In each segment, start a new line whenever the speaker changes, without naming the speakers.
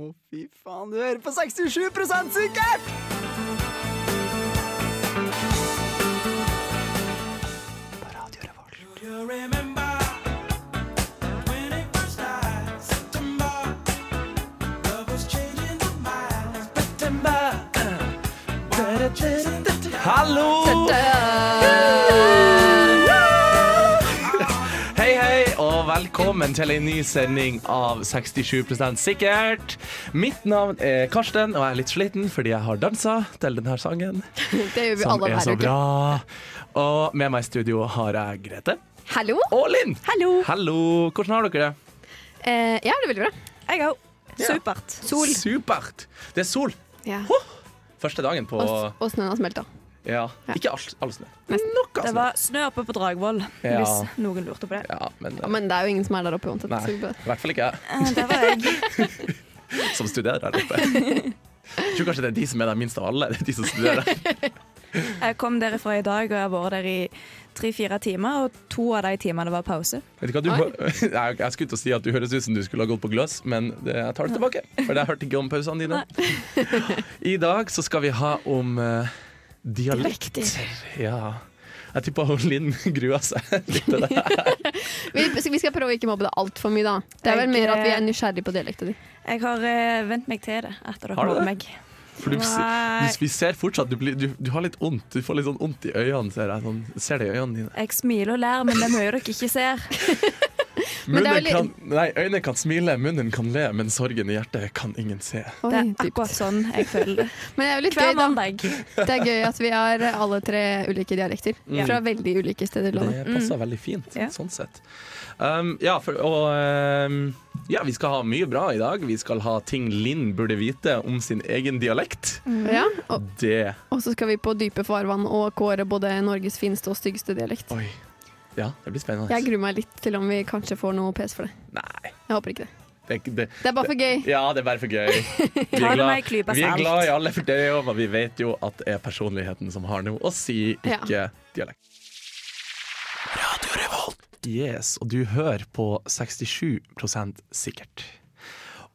Å, fy faen, du hører på 67 sikkert! På Radio Revolt.
Hallo! Hei, hei, og velkommen til en ny sending av 67 sikkert. Mitt navn er Karsten, og jeg er litt sliten fordi jeg har dansa til denne sangen,
Det gjør vi
som
alle
er
hver
så
uke.
bra. Og med meg i studio har jeg Grete
Hallo?
og Linn.
Hallo.
Hallo. Hvordan har dere det?
Eh, ja, det er veldig bra.
Jeg òg. Supert.
Sol.
Supert. Det er sol.
Ja.
Første dagen på
Og, s- og snøen har smelta.
Ja,
Ja.
ikke all, all snø.
Nesten.
Noe
Det
snø.
var snø oppe på Dragvoll,
Ja.
hvis noen lurte på det.
Ja, men,
Ja, men det er jo ingen som er der oppe uansett.
Nei,
så
i
det-
hvert fall ikke jeg
Eh, Der var jeg.
som studerer her oppe. Jeg tror kanskje det er de som er der minst av alle. Det er de som studerer.
Jeg kom derifra i dag og jeg har vært der i tre-fire timer, og to av de timene var pause.
Vet du hva, du,
Oi.
hø- Nei, jeg skulle til å si at du høres ut som du skulle ha gått på gløss, men det, jeg tar det tilbake. For jeg hørte ikke om pausene dine. I dag så skal vi ha om eh, dialekter. Ja. Jeg tipper hun Linn gruer seg litt til det.
Vi, så vi skal prøve å ikke mobbe deg altfor mye, da. Det er vel
Jeg,
mer at vi er
eh,
nysgjerrig på dialekta di.
Jeg har eh, vent meg til det
Har
etter dere
du
nådde
det?
meg.
For du,
Nei.
du, vi ser fortsatt du, blir, du, du har litt vondt. Du får litt sånn vondt i øynene, ser jeg. Sånn, ser det i øynene dine.
Jeg smiler og ler, men det er mye dere ikke ser.
Men det er
Munnen
vel-
kan, nei, øynene kan smile, munnen kan le, men sorgen i hjertet kan ingen se.
Oi,
Det er
dypt.
akkurat sånn jeg føler det.
Men det er jo litt
Hver
gøy, da.
mandag.
Det er gøy at vi har alle tre ulike dialekter.
Mm.
Fra veldig ulike steder i landet.
Det passer veldig fint,
Ja.
sånn sett. Um, ja, for, og um, ja, vi skal ha mye bra i dag. Vi skal ha ting Linn burde vite om sin egen dialekt.
Ja, Mm. og,
Det
og så skal vi på dype farvann og kåre både Norges fineste og styggste dialekt.
Oi. Ja, det blir spennende.
Jeg gruer meg litt til om vi kanskje får noe pes for det.
Nei,
Jeg håper ikke det.
det, er ikke- det,
Det er bare for gøy.
ja, det er bare for gøy. Vi
Ta
er
det
glad,
med en klype
vi er
salt.
glad i alle for det, og vi vet jo at det er personligheten som har noe å si, ikke dialekt. Radio Revolt. Yes, og du hører på 67 sikkert.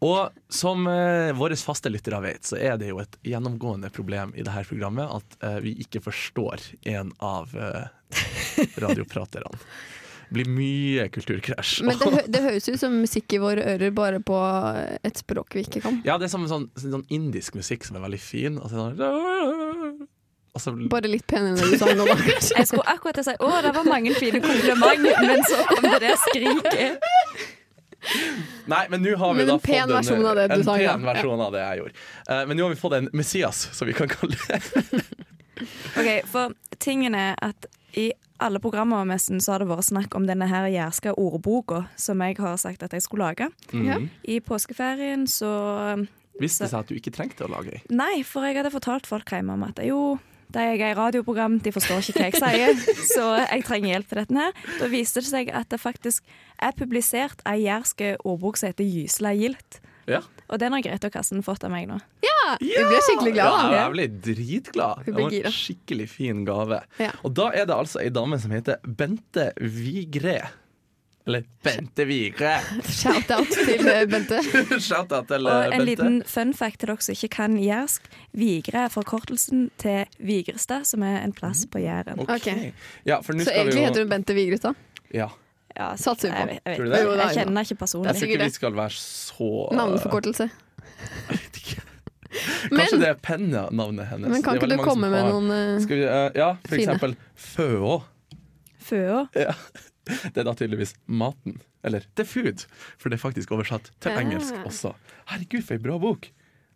Og som eh, våre faste lyttere vet, så er det jo et gjennomgående problem i dette programmet at eh, vi ikke forstår en av eh, radiopraterne. Det blir mye kulturkrasj.
Men det, hø det høres ut som musikk i våre ører, bare på et språk vi ikke kan.
Ja, det er som sånn, sånn, sånn indisk musikk som er veldig fin. Og så, er det sånn, og så
Bare litt penere enn du sa nå, da, kanskje.
Jeg skulle akkurat til å si å, det var mange fine komplimenter, men så kom det det skriket.
Nei, men nå har vi
Men
da
en pen
fått en,
versjon av det du
en
sa,
pen
ja.
versjon av det jeg gjorde. Eh, men nå har vi fått en Messias, som vi kan kalle det.
OK, for tingen er at i alle programmer nesten så har det vært snakk om denne her jærska ordboka som jeg har sagt at jeg skulle lage.
Mm.
Ja.
I påskeferien så
Hvis det seg at du ikke trengte å lage ei.
Nei, for jeg hadde fortalt folk hjemme om at jo, de jeg er i radioprogram, de forstår ikke hva jeg sier, så jeg trenger hjelp til dette her. Da viste det seg at det faktisk er publisert ei jærsk ordbok som heter Gysla gildt.
Ja.
Og den har Grete og Karsten fått av meg nå.
Ah, Vi ble skikkelig glad,
Ja,
da.
jeg ble dritglad.
Vi
Det
ble
var
gira.
en skikkelig fin gave.
Ja.
Og da er det altså ei dame som heter Bente Vigre. Eller Bente Vigre.
Shout-out til eh, Bente.
Shout-out til eh,
Og en
Bente.
liten fun fact til dere som ikke kan jærsk. Vigre er forkortelsen til Vigrestad, som er en plass på Jæren.
Ok.
Ja, for nå
Så
skal vi
egentlig
jo
heter hun Bente Vigrestad.
ja.
Ja,
Satser vi på.
Jeg, vet- jeg,
Tror du
vet-
det?
Jo, det er
jeg kjenner ikke personlig.
Det
Jeg tror
Sikkert
ikke vi skal være så
Navneforkortelse.
Kanskje
Men-
det er pennenavnet hennes.
Men kan
Det er veldig
ikke du
mange som
komme med
har-
noen eh,
Skal vi, eh, ja, for
Fine.
eksempel føå.
Føå.
Ja. Det er da tydeligvis maten. Eller the food, for det er faktisk oversatt til
Ja.
engelsk også. Herregud, for ei bra bok!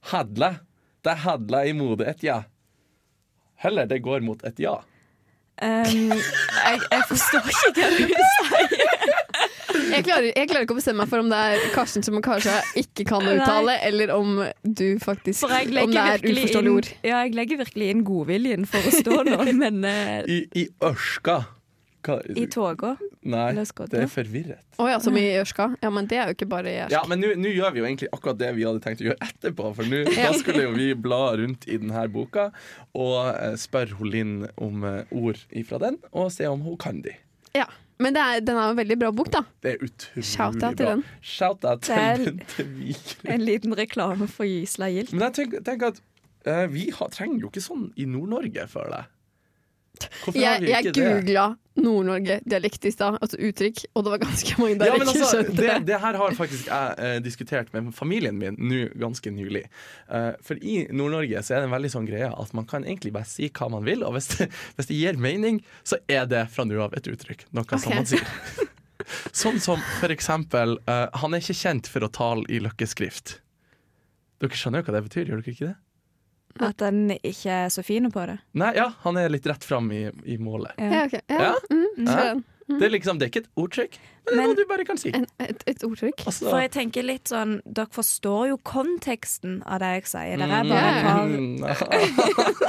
Hadle. Det er hadle i mode et ja. Heller det går mot et ja.
Um, jeg, jeg forstår ikke hva du
jeg, klarer, jeg klarer ikke å bestemme meg for om det er Karsten som kanskje ikke kan å uttale, eller om du faktisk
For jeg
Om det
legger
er
virkelig
uforståelige
inn,
ord.
ja, jeg legger virkelig inn godviljen for å stå nå, men eh,
I, i ørska. Hva-
i toga
Nei,
Eller skodda.
det er forvirret.
Å ja, som i
Mm.
Ørska? Ja, men det er jo ikke bare i
Ja,
Ørska.
men nå nå gjør vi jo egentlig akkurat det vi hadde tenkt å gjøre etterpå. For nå
Ja.
da skulle jo vi bla rundt i denne boka og eh, spørre hun Linn om eh, ord ifra den, og se om hun kan de.
Ja. Men det er, den er jo en veldig bra bok, da.
Det er utrolig
Shout-out til
bra.
den.
Shout-out til
Det er-
den til Viken.
En liten reklame for Gisla Gild.
Men jeg tenker, tenker at eh, vi har, trenger jo ikke sånn i Nord-Norge, føler jeg. Hvorfor har
Jeg,
vi
jeg
ikke det?
googla Nord-Norge-dialekt i stad, altså uttrykk, og det var ganske mange der
Ja,
jeg
men
ikke
altså,
skjønte
det,
det.
det her har faktisk jeg eh, diskutert med familien min nå ganske nylig. Eh, for i Nord-Norge så er det en veldig sånn greie at man kan egentlig bare si hva man vil, og hvis det, hvis det gir mening, så er det fra nå av et uttrykk. Noe som
Ok.
man sier. Sånn som for eksempel eh, Han er ikke kjent for å tale i løkkeskrift. Dere skjønner jo hva det betyr, gjør dere ikke det?
At den ikke er så fin på det.
Nei, ja, han er litt rett fram i, i målet.
Ja, ok. ja.
Ja?
Mm,
Ja.
skjønner.
Det er liksom, det er ikke et ordtrykk, men det er
Men-
noe du bare kan si.
En, et, et ordtrykk.
Altså,
For jeg tenker litt sånn Dere forstår jo konteksten av det jeg sier. Dere, er bare et par,
Mm,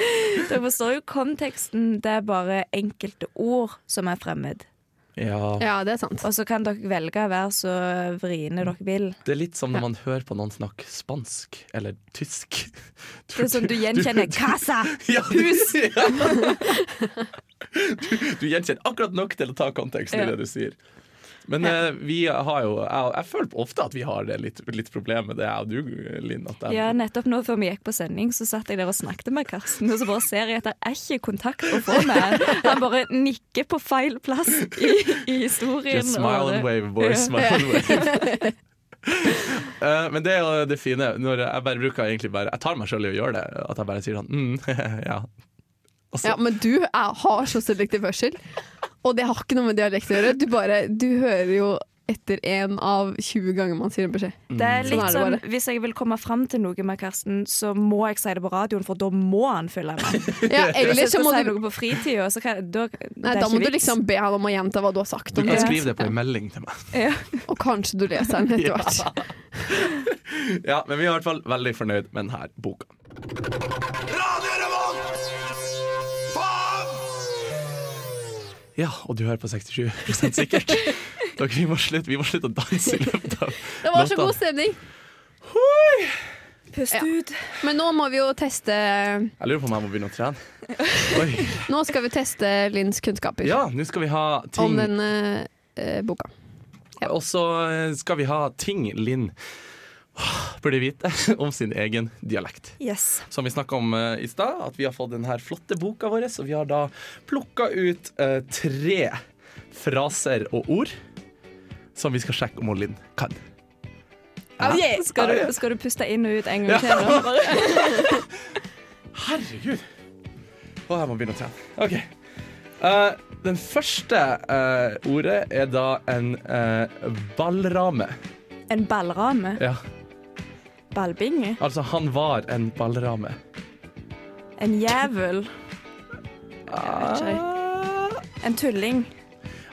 dere forstår jo konteksten, det er bare enkelte ord som er fremmed.
ja.
Ja, det er sant.
Og så kan dere velge å være så vriene dere vil.
Det er litt som når man hører på noen snakke spansk eller tysk.
Det er sånn du gjenkjenner
du-
Casa!
Ja, du- ja. Du, du gjenkjenner akkurat nok til å ta konteksten i
Ja.
det du sier. Men eh, vi har jo jeg, jeg føler ofte at vi har det litt, litt problem med det, jeg og du, Linn. At jeg,
Ja, nettopp nå før vi gikk på sending, så satt jeg der og snakket med Karsten, og så bare ser jeg at det er ikke kontakt å få med han. Han bare nikker på feil plass i, i historien.
Just smile
og-
and wave, boys.
Ja.
Smile and wave. Eh, men det er jo det fine. Når jeg bare bruker egentlig bare Jeg tar meg sjøl i å gjøre det. At jeg bare sier sånn mm, ja. Altså,
Ja, men du er, har så selektiv hørsel, og det har ikke noe med dialekt å gjøre. Du, bare, du hører jo etter én av 20 ganger man sier en beskjed.
Det
Mm.
er litt
Sånn er det
sånn,
bare.
Hvis jeg vil komme fram til noe med Karsten, så må jeg si det på radioen, for da må han følge med.
Ja,
Hvis
eller så
jeg skal
må
si
du
noe på fritida, så kan da,
Nei,
det er
da må
ikke
du
vits.
liksom be han om å gjenta hva du har sagt.
du
Om
kan
det.
skrive det på en melding til meg.
ja.
Og kanskje du leser den etter hvert.
Ja, men vi er i hvert fall veldig fornøyd med denne boka. Ja, og du hører på 67 sikkert. Dere, vi må slutte, vi må slutte å danse i løpet av
Det var så
låta.
god stemning.
Pust
Ja.
ut.
Men nå må vi jo teste
Jeg lurer på om jeg må begynne å trene. Oi.
Nå skal vi teste Linns kunnskaper
Ja, nå skal vi ha
om
ting
denne eh, boka.
Og så eh, skal vi ha ting Linn burde vite om sin egen dialekt.
Yes.
som vi snakka om eh, i stad, at vi har fått denne flotte boka vår. Og vi har da plukka ut eh, tre fraser og ord som vi skal sjekke om hun Linn kan.
Oh, yeah. skal,
Ja.
du, skal du puste inn og ut en gang til? nå? Bare-
Herregud! Å, jeg må begynne å trene. OK. Eh, den første eh, ordet er da en eh, ballrame.
En ballrame?
Ja,
Ballbinge?
altså han var en ballrame.
En jævel? vet ikke.
Ah.
En tulling?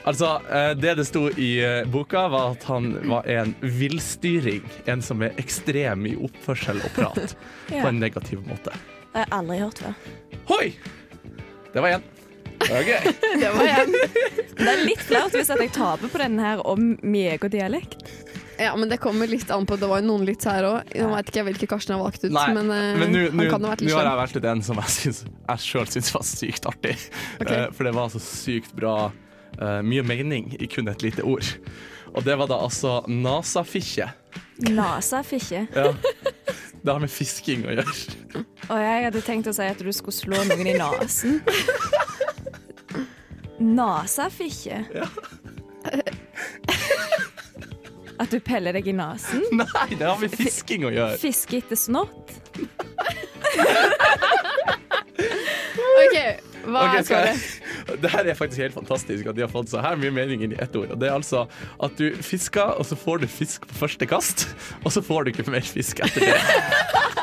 Altså, eh, Det det sto i eh, boka, var at han var en villstyring. En som er ekstrem i oppførsel og prat.
Ja.
På en negativ måte.
Jeg har aldri hørt før.
Hoi! Det var én. OK.
Det var jeg. Det er litt flaut hvis at jeg taper på denne her om min egen dialekt.
Ja, men det kommer litt an på. Det var jo noen litt her òg. Nå veit ikke jeg hvilke Karsten har valgt ut,
Nei,
men, eh,
men nå-
han
nå
kan ha vært
nå
litt
har
slem.
jeg valgt ut en som jeg, syns- jeg sjøl syns var sykt artig.
Ok.
Eh, For det var så sykt bra. eh, mye mening i kun et lite ord. Og det var da altså nasafikkje.
Nasafikkje.
Ja. Det har med fisking å gjøre.
Og jeg hadde tenkt å si at du skulle slå noen i nasen. Nasafikkje. At du peller deg i nasen.
Nei, det har med fisking å gjøre.
Fiske etter snott.
OK, hva
Ok,
skal
skal
det?
jeg- Det her er faktisk helt fantastisk at de har fått så her mye mening inn i ett ord. Og det er altså at du fisker, og så får du fisk på første kast, og så får du ikke mer fisk etter det.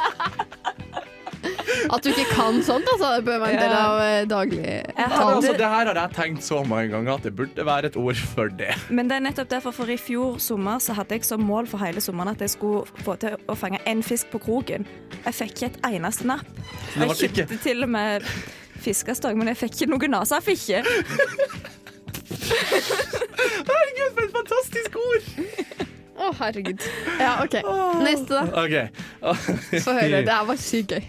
At du ikke kan sånt, altså. Det bør være en del
Ja.
av eh, daglig
Jeg
Men
hadde,
altså, det her har jeg tenkt så mange ganger at det burde være et ord for det.
men det er nettopp derfor, for i fjor sommer så hadde jeg som mål for hele sommeren at jeg skulle få til å fange én fisk på kroken. Jeg fikk ikke et eneste napp.
det
Jeg
var ikke-
kjøpte til og med fiskestang, men jeg fikk ikke noe nasafikkje.
Herregud, for et fantastisk ord!
Å, herregud. Ja, OK. Neste, da.
OK.
Få høre. Det her var sykt gøy.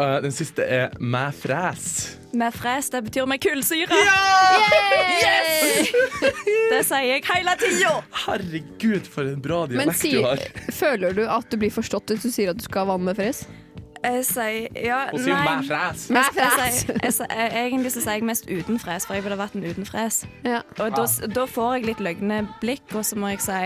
Eh, Den siste er mæ fræs.
Med fres, det betyr med kullsyre.
Yes!
Det sier jeg hele tida.
Herregud, for en bra
Men
dialekt
si,
du har.
føler du at du blir forstått hvis du sier at du skal ha vann med fres?
Jeg sier ja,
Hun sier jo
nei.
«Mæ fræs.
Med
Jeg sier, jeg sier, jeg, egentlig så sier jeg mest uten fres, for jeg ville vært en uten fres.
Ja.
Og da, da får jeg litt løgne blikk, og så må jeg si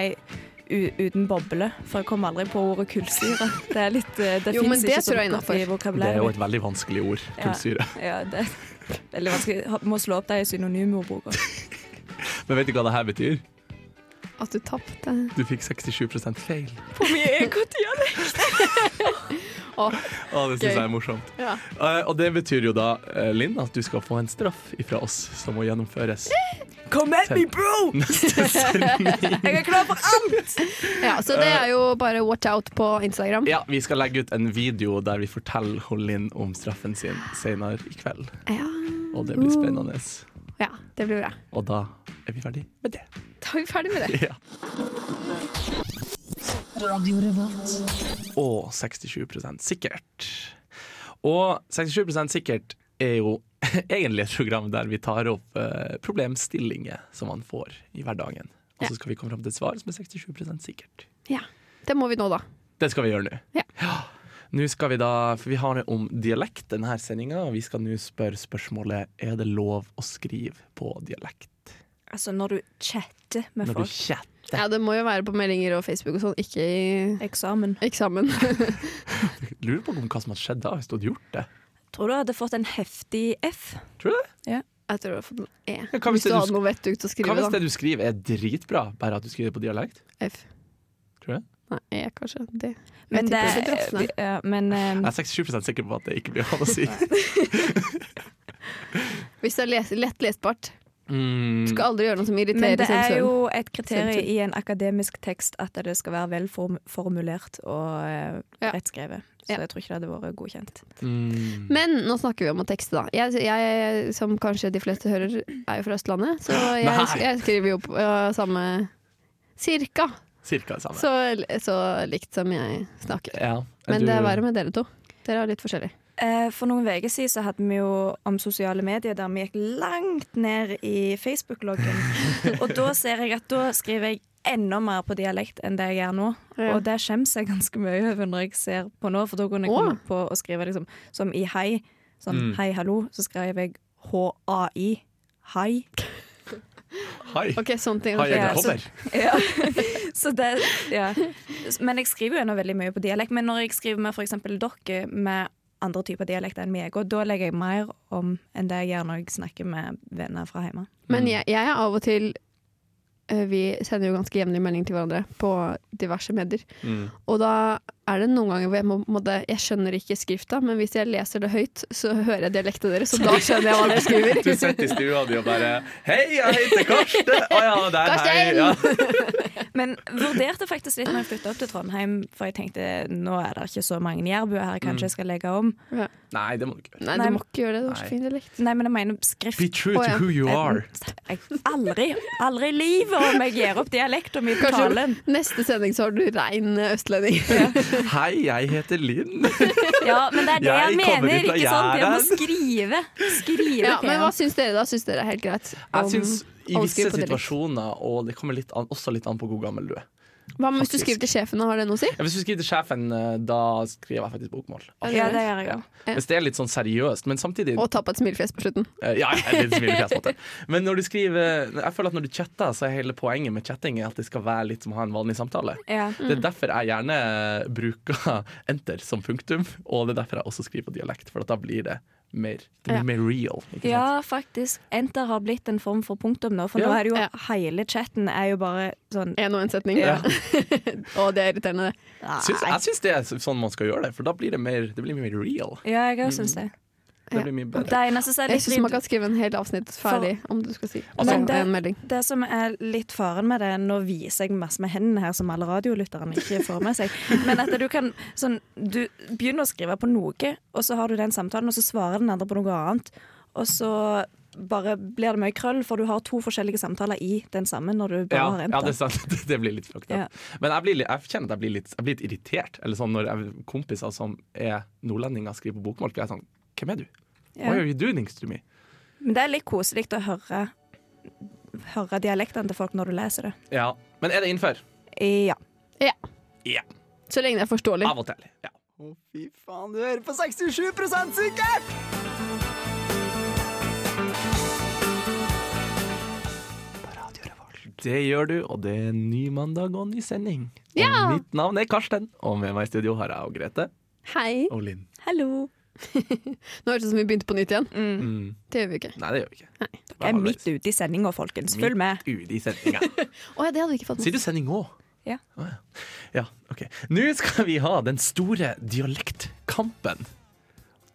u, uten boble, for jeg kommer aldri på ordet kullsyre. Det er litt eh, Det
Jo, men
fins
det
ikke så
tror jeg
godt i
Det er jo et
vokabulæret.
veldig vanskelig ord. Kullsyre.
Ja, det er veldig vanskelig. Ha- Må slå opp det i synonymordboka.
Men vet du hva det her betyr?
At du tapte.
Du fikk 67 feil.
Hvor mye ekotiale?
Å,
Å, det syns
Gøy.
jeg er morsomt.
ja.
Eh, og det betyr jo da, eh, Linn, at du skal få en straff ifra oss som må gjennomføres.
Come at me, bro! Jeg er klar for alt!
ja, så det er jo bare watch out på Instagram.
Ja, vi skal legge ut en video der vi forteller hun Linn om straffen sin senere i kveld.
Ja,
Og det blir spennende.
ja det blir bra.
Og da er vi ferdig med det.
Da er vi ferdig med det.
Ja. Og 67 sikkert. Og 67 sikkert er jo egentlig et program der vi tar opp eh, problemstillinger som man får i hverdagen. Og så skal vi komme fram til et svar som er 67 sikkert.
Ja. Det må vi nå, da.
Det skal vi gjøre nå.
Ja.
Nå skal vi da, for Vi har det om dialekt denne sendinga, og vi skal nå spørre spørsmålet er det lov å skrive på dialekt.
Altså, når du chatter med
Når du
folk
chatter.
Ja, det må jo være på meldinger og Facebook og sånn, ikke i
Eksamen.
eksamen.
Lurer på om hva som hadde skjedd da, hvis du hadde gjort det.
Tror du hadde fått en heftig F?
Tror du det?
Jeg tror du har fått en E.
Ja, hva hvis
hvis du
det du
hadde noe vettug til å
Hva
skrive,
hvis det du skriver er dritbra, bare at du skriver på dialekt?
da. F.
Tror du det?
Nei, E kanskje. D.
Men
Jeg
det,
tipper det drøsner.
ja, men eh,
Jeg er 67 sikker på at det ikke blir lov å si.
Hvis det er les lett lesbart.
Mm,
Du skal aldri gjøre noe som irriterer
Men det er
sensoren.
jo et kriterium
Sensor.
i en akademisk tekst at det skal være velformulert og eh,
Ja.
rettskrevet. Så
Ja.
jeg tror ikke det hadde vært godkjent.
mm.
Men nå snakker vi om å tekste, da. Jeg, jeg, som kanskje de fleste hører, er jo fra Østlandet, så jeg,
Nei.
jeg skriver jo på ja, samme Cirka
Cirka det samme.
så, så likt som jeg snakker.
Ja,
Men det er
du-
verre med dere to. Dere er litt forskjellige.
Eh, For noen uker siden så hadde vi jo om sosiale medier der vi gikk langt ned i Facebook-loggen. og da ser jeg at da skriver jeg enda mer på dialekt enn det jeg gjør nå.
Ja.
Og det skjemmes jeg ganske mye over når jeg ser på nå, for da kunne jeg
Åh.
komme på å skrive liksom, som i hei. Sånn hei, hallo. Så skrev jeg HAI. Hei.
Hei,
Ok, sånne ting.
hei,
Ja,
jeg
så-
kommer.
Ja. Så det, ja. Men jeg skriver jo ennå veldig mye på dialekt. Men når jeg skriver med f.eks. dere med andre typer dialekt enn meg, og da legger jeg mer om enn det jeg gjør når jeg snakker med venner fra hjemme.
Men jeg, jeg er av og til eh, Vi sender jo ganske jevnlig melding til hverandre på diverse medier.
Mm.
Og da er det noen ganger hvor jeg må, på en måte- Jeg skjønner ikke skrifta, men hvis jeg leser det høyt, så hører jeg dialekten deres, og da skjønner jeg hva dere skriver.
Du sitter i stua di og bare Hei, jeg heter Karsten! Å ja, der, hei.
Karsten!
Ja.
Men vurderte faktisk litt når jeg flytta opp til Trondheim, for jeg tenkte nå er det ikke så mange jærbuer her,
Mm.
kanskje jeg skal legge om.
Nei, det må du ikke gjøre.
Nei,
Nei,
du må ikke gjøre det. Du har
nei.
så fin dialekt.
Nei, men jeg mener
Be
skrift.
true
Å,
to
ja.
who you are.
Jeg, aldri aldri i livet om jeg gir opp dialekten min på
Kanskje
talen.
neste sending så har du rein eh, østlending.
Hei, jeg heter Linn.
Ja, men det er
Jeg
det jeg,
kommer
mener,
ut av
ikke sant? Jeg må
Jæren.
skrive. Skrive
Ja,
til
men
han.
hva syns dere da? Syns dere det er helt greit?
Jeg syns i
å
visse
skrive på dialekt.
situasjoner, og det kommer litt an, også litt an på hvor gammel du er
Hva med hvis du
faktisk.
skriver til sjefen, og har det noe å si?
Ja, Hvis du skriver til sjefen, eh, da skriver jeg faktisk bokmål.
Ja, det gjør jeg òg.
Ja.
Hvis det er litt sånn seriøst, men samtidig
Og ta på et smilefjes på slutten.
Eh, Ja, jeg litt smilefjes på det. Men når du skriver Jeg føler at når du chatter, så er hele poenget med chatting at det skal være litt som å ha en vanlig samtale.
Ja.
Det er derfor jeg gjerne bruker enter som punktum, og det er derfor jeg også skriver på dialekt, for at da blir det mer, det blir
Ja.
mer real. Ikke sant?
Ja, faktisk. Enter har blitt en form for punktum nå, for
Ja.
nå er det jo
Ja.
hele chatten er jo bare sånn
Én og én setning.
Ja.
og det er irriterende, det.
Syns, jeg syns det er sånn man skal gjøre det, for da blir det mer, det blir mer real.
Ja, jeg òg syns det.
Det blir mye bedre.
Det eneste som er
Jeg
litt
syns man kan skrive en hel avsnitt ferdig om du skal si
Altså-
om en melding.
det som er litt faren med det, nå viser jeg masse med hendene her som alle radiolytterne ikke får med seg, men at du kan sånn Du begynner å skrive på noe, og så har du den samtalen, og så svarer den andre på noe annet, og så bare blir det mye krøll, for du har to forskjellige samtaler i den samme når du bare
Ja,
har
ja, det
enter.
er sant. Det blir litt fucked up.
Ja.
Men jeg, blir, litt- jeg kjenner at jeg blir litt, jeg blir litt irritert. Eller sånn når jeg, kompiser som er nordlendinger, skriver på bokmål, blir jeg sånn Hvem er du?
Ja.
Why are you doing things to me?
Men det er litt koselig å høre, høre dialektene til folk når du leser det.
Ja. Men er det innenfor?
Ja.
Ja,
Ja.
Så lenge det er forståelig.
Av og til. Ja.
Å, fy faen, du hører på 67 sikkert!
Det gjør du, og det er ny mandag og ny sending. Og
Ja.
Mitt navn er Karsten, og med meg i studio har jeg og Grete
Hei.
og Linn.
Hallo.
Nå hørtes det ut som vi begynte på nytt igjen.
Mm.
Det gjør vi ikke.
Nei, det gjør vi ikke.
Jeg er midt ute i sendinga, folkens. Følg med.
Midt ute i sendinga.
Å ja, det hadde vi ikke fått med.
Sier du sending òg?
Ja.
Ah, ja. ja, OK. Nå skal vi ha den store dialektkampen.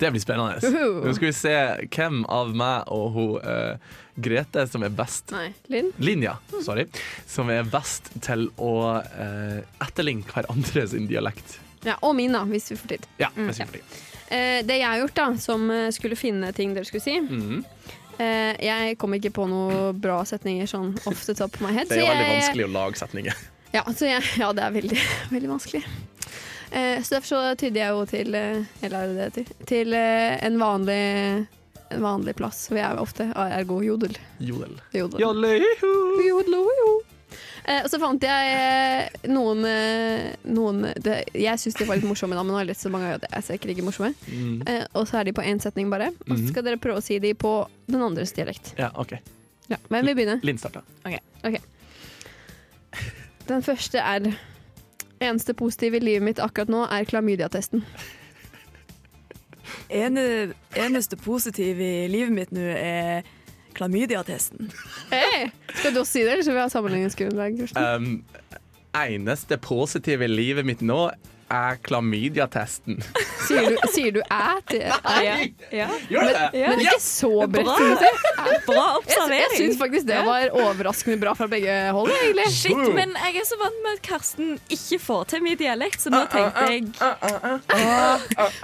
Det blir spennende.
Uhu.
Nå skal vi se hvem av meg og hun eh, Grete som er best
Nei. Linn?
Linja, sorry. Som er best til å eh, etterligne hverandre sin dialekt.
Ja, og min, da, hvis vi får tid.
Ja, jeg synes det.
Eh, det jeg har gjort, da, som eh, skulle finne ting dere skulle si
Mhm.
eh, Jeg kom ikke på noen bra setninger sånn off the top of my head.
Det er jo
så
veldig
jeg-
vanskelig å lage setninger.
Ja, så jeg, ja det er veldig, veldig vanskelig. Eh, så derfor så tydde jeg jo til eh, Eller er det det heter? Til eh, en vanlig en vanlig plass, hvor jeg ofte er ergo jodel.
Jodel.
jodel.
Jodel.
Jodel, jo. Eh, og så fant jeg eh, noen, eh, noen det, Jeg syns de var litt morsomme, da, men nå har jeg lest så mange at jeg ser ikke de ikke morsomme.
Mm.
Eh, og så er de på én setning, bare. Og så skal dere prøve å si de på den andres dialekt.
Ja, OK.
Ja, Hvem vil begynne?
Linn starta.
Den første er Eneste positive i livet mitt akkurat nå er klamydiatesten.
Ene, eneste positive i livet mitt nå er klamydiatesten.
Hey! Skal du også si det, eller skal vi ha sammenligningsgrunnlag? Kirsten?
Um, eneste positive i livet mitt nå er klamydiatesten.
Sier, du- sier du æ til æ?
Ah, Ja.
Gjør det?
Ja.
Men ikke så bredt.
Bra,
synes jeg.
bra
Jeg, jeg syns
observering.
faktisk det var overraskende bra fra begge hold, egentlig.
Shit, men jeg er så vant med at Karsten ikke får til min dialekt,
Ah,
så nå tenkte jeg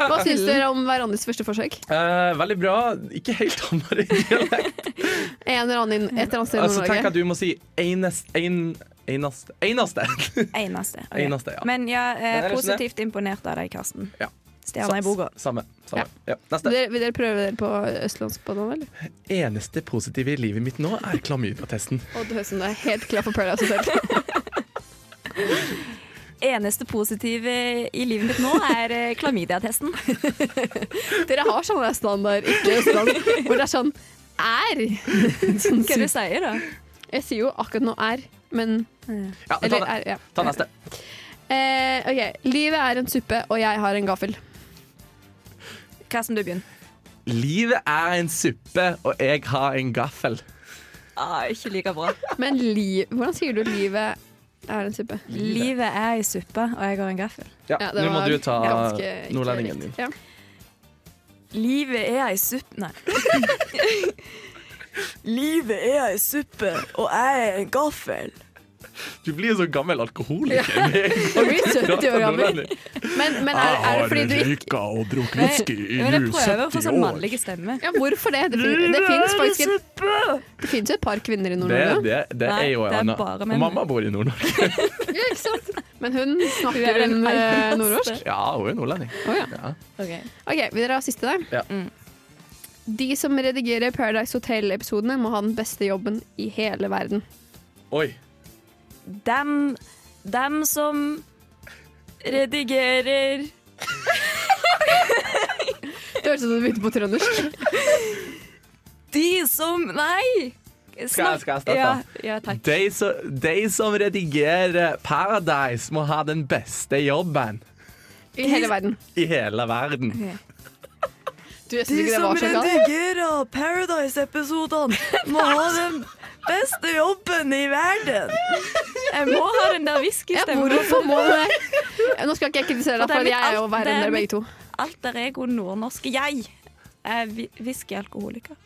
Hva syns dere om hverandres første forsøk?
Eh, veldig bra. Ikke helt Hamar i dialekt.
En eller annen inn, et eller annet sted i
Altså, tenk
Nord-Norge.
at du må si enest, en, eneste. Eneste!
Eneste. ok.
Eneste, ja.
Men jeg
Men
er
ellers
positivt imponert av deg, Karsten.
Ja.
Stjerna i boka.
Samme. samme. Ja. Neste.
Dere- Vil dere prøve dere på østlandsbanan, eller?
Eneste positive i livet mitt nå er klamydiatesten.
Å, det høres ut som du er helt klar for Paradise Hotel.
Eneste positive i livet mitt nå er eh, klamydiatesten.
Dere har sånn der standard, ikke østland, hvor det er sånn er. Sånn,
Hva er det du sier da?
jeg sier jo akkurat nå er, men
Ja, ta,
Eller
ne-
er, ja.
ta neste.
Eh, OK. Livet er en suppe, og jeg har en gaffel.
Karsten, du begynner.
Livet er en suppe, og jeg har en gaffel.
Ah, ikke like bra.
Men liv Hvordan sier du livet er en suppe?
Livet er ei suppe, og jeg har en gaffel.
Ja,
Ja, det
Nå må
var
du ta
ganske ikke
nordlendingen din.
riktig. Ja.
Livet er ei suppe Nei. Livet er ei suppe, og jeg er en gaffel.
Du blir jo så gammel alkoholiker.
Du blir 70 år gammel. Men, men er, er det fordi du ikke
og drukket
Men men jeg prøver å få sånn mannlig stemme.
ja, hvorfor det? Det, fin, det finnes faktisk et, det finnes jo et par kvinner i
Det,
Nord-Norge.
det, det
Nei,
er jo
det
en
er
annen.
bare
Og
menn.
mamma bor i Nord-Norge.
Ja, ikke sant? Men hun
Hun er
snakker hun
den
eh,
eneste.
nordnorsk.
Ja, hun er nordlending.
Å, ja.
Ok.
OK, vil dere ha siste der?
Ja.
Mm.
De som redigerer Paradise Hotel-episodene, må ha den beste jobben i hele verden.
Oi.
Dem, dem som redigerer
Det høres ut som du begynte på trøndersk.
De som Nei!
Skal jeg- skal jeg starte?
Ja, ja takk.
De, så, de som redigerer Paradise, må ha den beste jobben
I hele verden.
i hele verden.
Du, jeg synes ikke det var så galt.
redigerer Paradise-episodene, må ha den beste jobben i verden. Jeg må ha den der
Ja,
whiskystemmen.
hvorfor må du det? Nå skal ikke jeg kritisere deg,
For
for
det er mitt
jeg er jo
alt-
verre
det
enn
er
dere
mitt-
begge to.
Alter ego nordnorske jeg er vi- whiskyalkoholiker.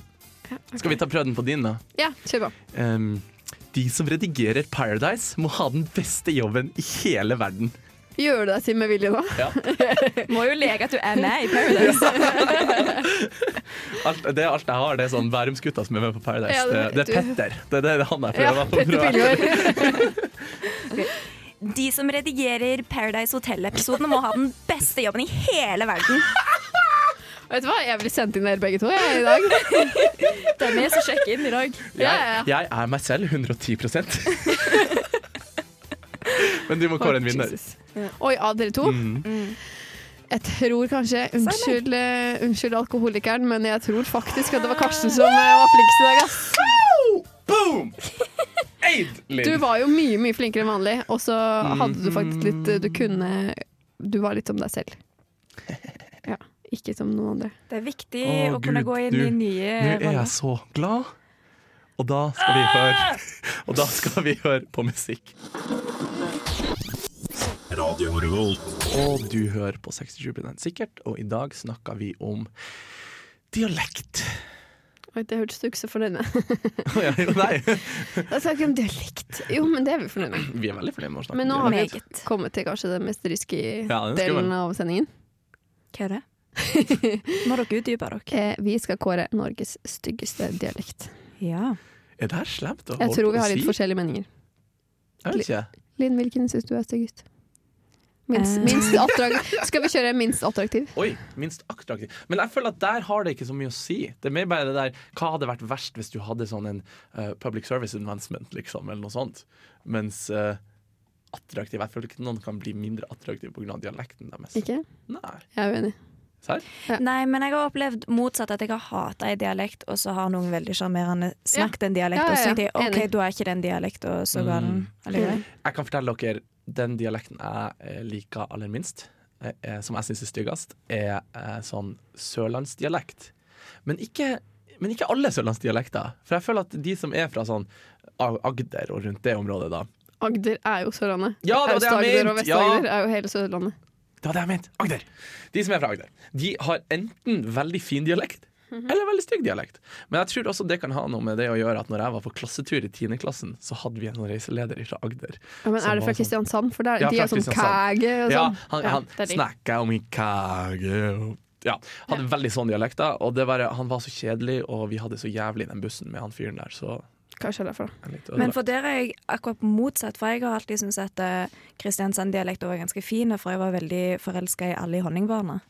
Skal vi ta prøven på din, da?
Ja, kjør på.
Ehm, de som redigerer Paradise, må ha den beste jobben i hele verden.
Gjør du deg til med vilje nå?
Må jo leke at du er med i Paradise.
Alt, det er alt jeg har, det er sånn Bærumsgutta som er med på Paradise.
Ja,
det,
det-
det er Petter. Det er det han er
Ja,
prøver
Petter Piljord.
De som redigerer Paradise Hotel-episodene, må ha den beste jobben i hele verden.
Vet du hva, jeg blir sendt inn dere begge to jeg, i dag.
Det er vi som sjekker inn i dag.
Ja, ja.
Jeg, jeg er meg selv 110 Men du må kåre en vinner. Mm.
Jesus. Oi, av dere to? Jeg tror kanskje Unnskyld, eh, unnskyld alkoholikeren, men jeg tror faktisk at det var Karsten som eh, var flinkest i dag, ass.
Boom! Eid, Linn.
Du var jo mye, mye flinkere enn vanlig, og så hadde du faktisk litt
Mm.
eh, Du kunne Du var litt som deg selv. Ja. Ikke som noen andre.
Det er viktig
Å,
å kunne
Gud,
gå inn
du.
i nye
Nå er jeg
roller.
så glad. Og da skal vi
Ah!
høre Og da skal vi høre på musikk. Og du hører på 67 sikkert, og i dag snakker vi om dialekt.
Oi, det hørtes du ikke så fornøyd med.
Å, ja, jo, Nei,
Da snakker vi om dialekt. Jo, men det er vi fornøyd med.
vi er veldig fornøyd med å snakke
Men
om
nå har vi
dialekt.
kommet til kanskje den mest risky
Ja, den skal
delen
være-
av sendingen.
Hva er det? Må dere utdype dere.
Eh, Vi skal kåre Norges styggeste dialekt.
Ja.
Er det her slemt å
Jeg
holde
tror
på
vi
å
har litt
si?
forskjellige meninger.
Jeg vet ikke.
Linn, hvilken syns du er styggest? Minst,
Eh.
minst attraktiv. Skal vi kjøre minst attraktiv?
Oi, minst attraktiv. Men jeg føler at der har det ikke så mye å si. Det er mer bare det der Hva hadde vært verst hvis du hadde sånn en eh, public service advancement, liksom, eller noe sånt? Mens eh, attraktiv Jeg føler ikke noen kan bli mindre attraktiv pga. dialekten deres.
Ikke?
Nei.
Jeg er uenig.
Serr?
Nei, men jeg har opplevd motsatt. At jeg har hata en dialekt, og så har noen veldig sjarmerende snakket en dialekt,
Ja,
og så
ja,
tenkte jeg
ja.
OK,
Enig. Mm.
da er ikke den dialekta så gal allikevel.
Jeg kan fortelle dere den dialekten jeg eh, liker aller minst, eh, eh, som jeg syns er styggest, er eh, sånn sørlandsdialekt. Men ikke, men ikke alle sørlandsdialekter. For jeg føler at de som er fra sånn Ag- Agder og rundt det området, da
Agder er jo Sørlandet.
Ja, det var det jeg
Aust-Agder
mente.
og Vest-Agder er jo hele Sørlandet.
Det var det jeg mente. Agder. De som er fra Agder, de har enten veldig fin dialekt
Mhm.
eller veldig stygg dialekt. Men jeg tror også det kan ha noe med det å gjøre at når jeg var på klassetur i 10. klassen, så hadde vi en reiseleder fra Agder.
Ja, men
som
er
var
det fra
sånn-
Kristiansand? For der,
Ja,
de
fra
er sånn
Kristiansand.
kæge og
Ja,
sånn.
han, han
det er de.
snakka om i kage og- ja, han hadde veldig sånn dialekt, da, og det bare, han var så kjedelig, og vi hadde så jævlig den bussen med han fyren der, så
Kanskje det er derfor.
jeg er litt
Men for der er jeg akkurat motsatt, for jeg har alltid syntes at eh, Kristiansand-dialekten var ganske fin, for jeg var veldig forelska i alle i Honningbarna.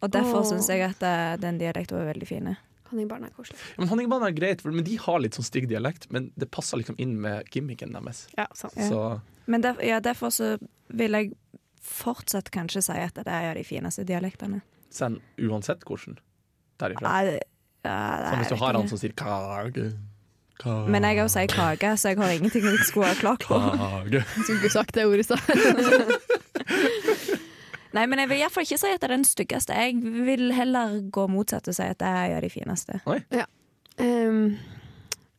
Og derfor
Åh.
syns jeg at eh, den dialekten var veldig fin.
Honningbarn er koselig.
Ja, men Honningbanen er greit, for, men de har litt sånn stygg dialekt, men det passer liksom inn med gimmicken deres.
Ja, sant.
Så
Men derf ja, derfor så vil jeg fortsatt kanskje si at det er de fineste dialektene.
send uansett hvordan derifra.
Nei, det- ja, nei,
Som hvis du
jeg
har
vet
han
ikke.
som sier kage. Kage.
Men jeg òg sier kake, så jeg har ingenting jeg skulle ha klart på.
Kage.
Jeg skulle ikke sagt det ordet i stad.
Nei, men jeg vil iallfall ikke si at det er den styggeste. Jeg vil heller gå motsatt og si at det er en av de fineste.
Ehm,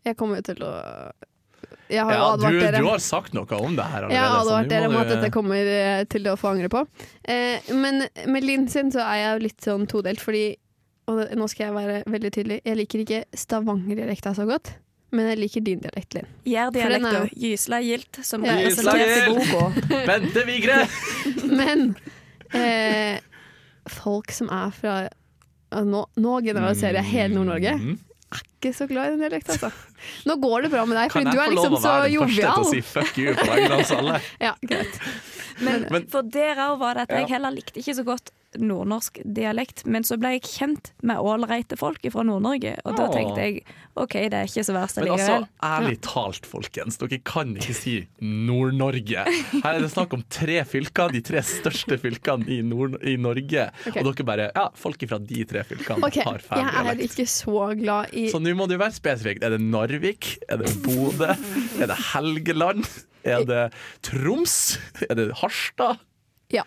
jeg kommer jo til å Jeg har jo
Ja, du,
advart dere.
du har sagt noe om det her allerede.
Jeg
så
har advart
nå
dere
må
om at
du-
dette kommer eh, til å få angre på. Eh, men med Linn sin så er jeg jo litt sånn todelt, fordi Og det- nå skal jeg være veldig tydelig. Jeg liker ikke Stavanger-dialekta så godt, men jeg liker din dialekt, Linn. For den er
Jærdialekta.
jo-
Gysla gilt, som
Ja.
representeres i boka.
Bente Vigre!
Men eh, folk som er fra ja, nå, nå generaliserer jeg hele Nord-Norge.
Mm.
Ikke så glad i den dialekta, altså. Nå går det bra med deg,
Kan jeg
fordi du er
få lov
liksom
å
så
være den første til
jovial.
å si fuck you på vegne av oss alle?
Ja, greit.
Men,
Men-
for der òg var det at
Ja.
jeg heller likte ikke så godt nordnorsk dialekt, men så ble jeg kjent med ålreite folk fra Nord-Norge, og da
Åh.
tenkte jeg OK, det er ikke så verst
Men altså,
allikevel.
ærlig talt, folkens. Dere kan ikke si Nord-Norge. Her er det snakk om tre fylker, de tre største fylkene i, Nord i Norge.
Ok.
Og dere bare Ja, folk fra de tre fylkene
OK,
har feil
jeg er
dialekt. Sånn-
ikke så glad i
Så nå må du være spesifikk. Er det Narvik? Er det Bodø? Er det Helgeland? Er det Troms? Er det Harstad?
Ja.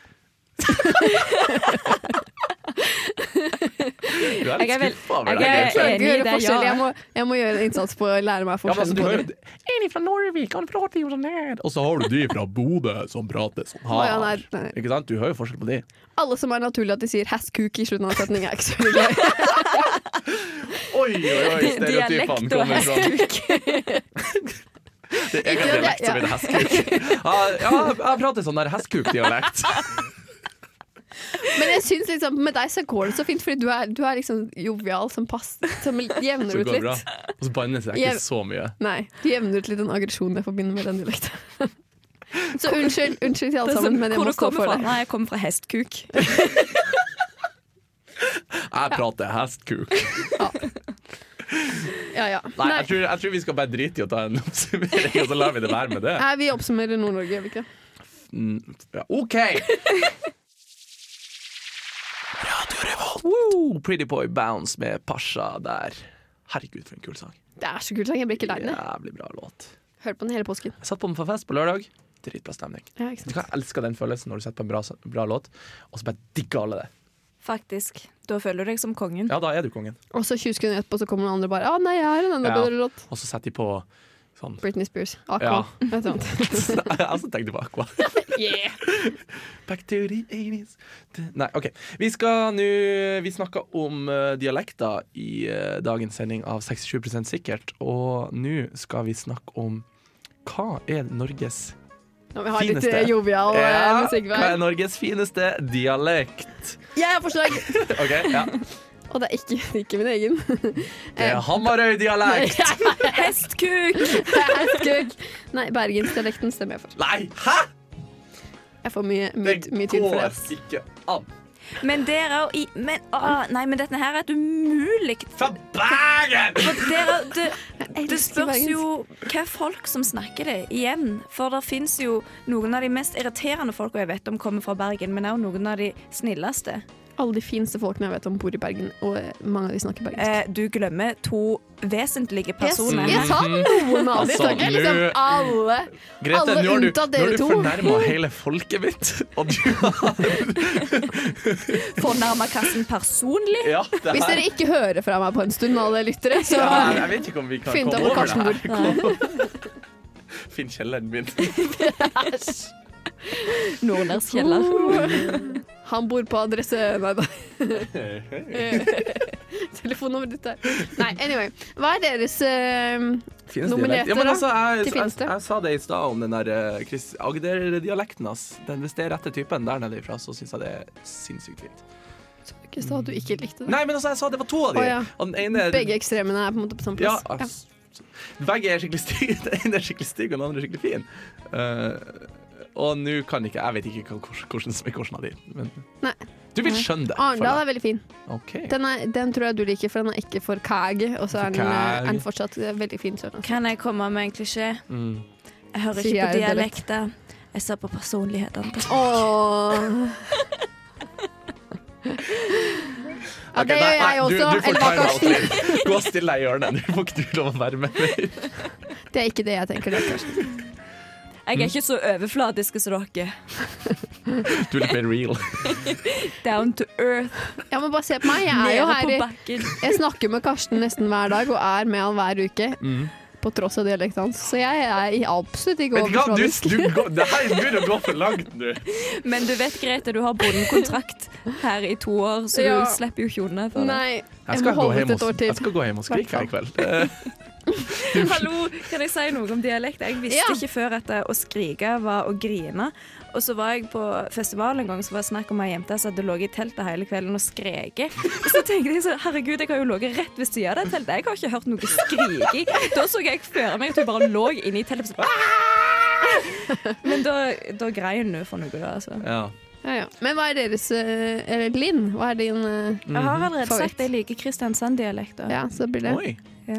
Du er
Jeg er
litt
vel-
skuffa over
jeg er-
deg.
Jeg klarer ikke
enig i
å gjøre
det,
forskjell.
ja.
Jeg må, jeg må gjøre en innsats på å lære
Ja,
meg
men
forskjellen
altså, du
på
har
det.
jo En fra Norvik, han prater jo sånn her. Og så har du de fra Bodø som prater sånn
Å, ja, nei,
her.
nei.
Ikke sant? Du hører jo forskjell på de.
Alle som er naturlig at de sier 'hass kuk' i slutten av setningen, er ikke så glad i.
Oi, oi, oi, stereotypene
Dialekt og
kommer fra
hestkuk.
Det er egen
Ikke det,
dialekt som
ja.
heter hestkuk. Ja, ja, jeg prater sånn der hestkuk-dialekt.
Men jeg syns liksom, med deg så går det så fint, fordi du er, du er liksom jovial som pass, som jevner
Så
ut
går det bra.
litt.
Og så bannes jeg
Jeg-
ikke så mye.
Nei, du jevner ut litt den aggresjonen jeg forbinder med den dialekten. Så unnskyld, unnskyld til alle
Det er som-
sammen, men jeg
Hvor
må
du
stå
kommer
for
fra?
det.
Nei, jeg kommer fra hestkuk.
Jeg Jeg prater hestkuk.
Ja, ja.
Nei,
Nei.
jeg tror, jeg tror vi skal bare drite i å ta en oppsummering, og så lar vi det være med det.
Nei, vi oppsummerer Nord-Norge, gjør vi ikke?
Mm, ja, OK! Radio Revolt. Woo! Pretty Boy Bounce med Pasha der. Herregud, for en kul sang.
Det er så kult sang. Jeg blir ikke lei meg.
Jævlig bra låt.
Hørte på den hele påsken.
Jeg satt på den for fest på lørdag. Dritbra stemning.
Ja,
Vet
ikke
du
sant?
hva, Jeg elsker den følelsen når du setter på en bra, bra låt, og så bare digger alle det.
Faktisk. Da føler du deg som kongen.
Ja, da er du kongen.
Og så 20 sekunder etterpå så kommer noen andre og bare Å nei, jeg har en enda
Ja.
bedre låt.
Og så setter de på sånn
Britney Spears. Aqua.
Ja.
Ja. Et eller annet.
Jeg så tenkte på Aqua.
Yeah.
Back to the 80s Nei, OK. Vi skal nå Vi snakka om eh, dialekter i eh, dagens sending av 67 sikkert, og nå skal vi snakke om hva er Norges
Nå, vi har litt
Fineste.
eh, jovial ja.
Ja,
musikk
Hva er
hver.
Norges fineste dialekt?
Jeg har forslag!
OK, ja.
Og det er ikke, det er ikke min egen.
Det er Hamarøy-dialekt!
Hestkuk!
Skugg. Nei, bergensdialekten stemmer jeg for.
Nei, hæ?!
Jeg får mye,
Det
mye, mye tid for
går
det.
ikke an.
Men dere er i Men, å, nei, men dette her er et umulig
Fra Bergen!
For dere, det,
Jeg
det
elsker
spørs
bergensk.
jo hva folk som snakker det, igjen. For det fins jo noen av de mest irriterende folka jeg vet om kommer fra Bergen, men også noen av de snilleste.
Alle de fineste folkene jeg vet om, bor i Bergen, og eh, mange av de snakker bergensk.
Eh, du glemmer to vesentlige
Jeg,
personer.
jeg sa noen av de
Altså,
snakker liksom
nu-
alle.
Grete,
Alle
nå har du,
unntatt
nå har
dere
du
to.
fornærma hele folket mitt. Og du
Fornærma kassen personlig.
Ja, det
Hvis
her
dere ikke hører fra meg på en stund, alle lyttere, så
ja, Jeg vet ikke om vi kan
Finn
komme
ut hvor
over
Karsten
det
Eh,
her. Finn kjelleren min.
Nordnærs kjeller.
Uh. Han bor på adresse Nei da. Telefonnummeret ditt er Nei, anyway. Hva er deres eh,
Finnes dialekt.
Nominerte,
Ja, men
da,
altså, jeg,
til
jeg, jeg,
fineste.
sa det i stad om den der eh, Chris- Agder-dialekten hans. Den, hvis det er rette typen der nede ifra, så syns jeg det er sinnssykt fint.
Ikke sa at du ikke likte det.
Nei, men altså, jeg sa det var to av de.
Å, ja.
Og den ene
Begge ekstremene er på en måte på samme
Ja, altså,
plass. Ja.
ass- Begge er skikkelig stygge. Den ene er skikkelig stygg, og den andre er skikkelig fin. Eh, og nå kan ikke Jeg vet ikke hva- hvordan- hvordan som er hvordan av de, men
Nei.
du vil skjønne det.
Arendal
føler jeg.
er veldig fin.
OK.
Den, er, den tror jeg du liker, for den er ikke for kæg. Og så er den, eh,
Kæg.
er den fortsatt eh, veldig fin. Sånn.
Kan jeg komme med en klisjé?
Mm.
Jeg hører
Sier
ikke på
jeg dialekt.
dialekter. Jeg ser på personlighetene. til-
Ja, det gjør jeg også.
Du, du får
Eller hva, Karsten?
timeout. Gå og still deg i hjørnet. Du får ikke du lov å være med mer.
Det er ikke det jeg tenker. Det, er Karsten.
Jeg er ikke så overfladisk som dere.
Du er litt mer real.
Down to earth.
ja, men bare se på meg. Jeg er jo
Nede
her
på
i
bakken.
Jeg snakker med Karsten nesten hver dag, og er med han hver uke. På tross av dialekten hans. Så jeg er i- absolutt ikke
Mm. Vet du hva, du,
overfladisk.
du, går- det her begynner å gå for langt nå.
Men du vet, Grete, du har bondekontrakt her i to år, så
Ja.
du slipper jo ikke unna for det.
Nei,
Jeg
jeg må
skal gå
holde
hjem
ut et
og,
år
jeg
til.
skal gå hjem og skrike her i kveld. Eh,
Hallo, kan jeg si noe om dialekt? Jeg visste
Ja.
ikke før at det å skrike var å grine. Og så var jeg på festival en gang, så var det snakk om ei jente som hadde ligget i teltet hele kvelden og skreket. Og så tenkte jeg sånn, herregud, jeg har jo ligget rett ved siden av det teltet. Jeg har ikke hørt noe skriking. Da så jeg for meg at hun bare lå inne i teltet. og Så, «Ah!» Men da, da greier hun jo for noe, da. Altså.
ja.
Ja, ja. Men hva er deres eh, Eller Linn, hva er din eh,
Jeg har allerede
Favoritt.
sagt jeg liker Kristiansand-dialekter.
Ja, så blir det
Oi.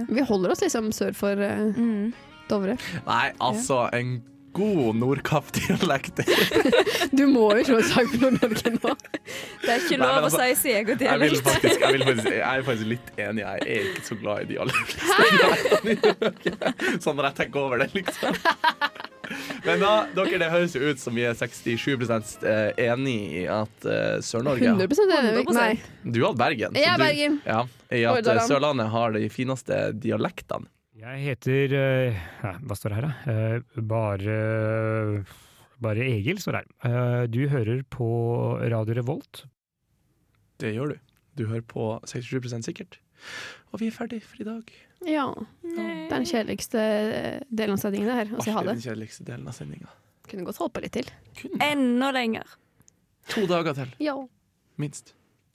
Vi holder oss liksom sør for eh,
Mm.
Dovre.
Nei, altså, en god nordkapp-dialekt.
Du må jo slå et slag for Nord-Norge nå.
Det er ikke
Nei, men
lov
altså,
å si sin
Jeg, vil
egen dialekt.
faktisk, jeg, vil faktisk, jeg er faktisk litt enig. Jeg er ikke så glad i de aller fleste dialektene. Sånn når jeg tenker over det, liksom. Men da, dere, det høres jo ut som vi er 67 enig i at eh, Sør-Norge
100 enig.
100%.
Nei.
Du hadde Bergen.
Jeg er
så du-
Bergen.
Ja, I at eh,
Hordaland.
Sørlandet har de fineste dialektene.
Jeg heter eh, ja, Hva står det her, da? Eh, Bare, bare Egil står det her. Eh, Du hører på Radio Revolt.
Det gjør du. Du hører på 67 sikkert. Og vi er ferdig for i dag.
Ja. Det er den kjedeligste eh, delen av sendingen, det her. Å si ha
Alltid
det.
Den kjedeligste delen av sendinga.
Kunne godt holdt på litt til.
Kun
Enda lenger.
to dager til,
Ja.
minst.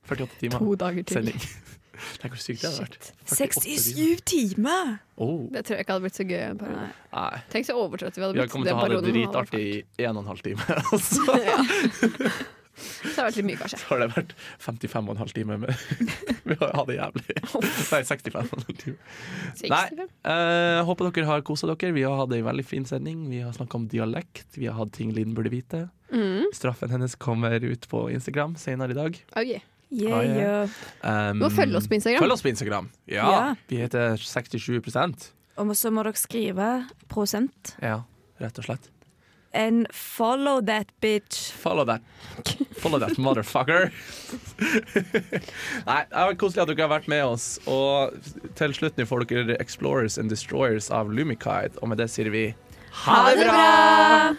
48 timer
To dager til.
sending. Tenk hvor sykt det hadde vært. 48 timer.
67 timer!
Oh,
Det tror jeg ikke hadde blitt så gøy. En periode.
nei.
Tenk så overtrøtte vi hadde
Vi har
blitt.
kommet til å ha det
perioden.
dritartig i en og en halv time. Altså.
Det har vært litt mye, kanskje.
Så har det vært 55 og en halv time med Vi har hatt det jævlig. Nei, 65 og en halv time. Nei.
65.
Eh, håper dere har kosa dere. Vi har hatt ei veldig fin sending. Vi har snakka om dialekt. Vi har hatt ting Linn burde vite.
Mm.
Straffen hennes kommer ut på Instagram senere i dag.
ok.
Yeah,
Ja, ja.
yeah.
Um,
Du må følge oss på Instagram.
Mm. Følg oss på Instagram. Ja.
Ja.
Vi heter 67
Og så må dere skrive prosent.
Ja, rett og slett.
And follow that bitch.
Follow that. Follow that motherfucker. Nei, det har vært koselig at dere har vært med oss. Og til slutt nå får dere Explorers and Destroyers av Lumikide, og med det sier vi
Ha det bra!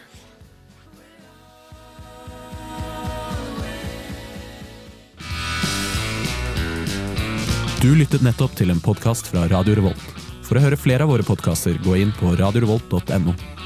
Du lyttet nettopp til en podkast fra Radio Revolt. For å høre flere av våre podkaster, gå inn på radiorevolt.no.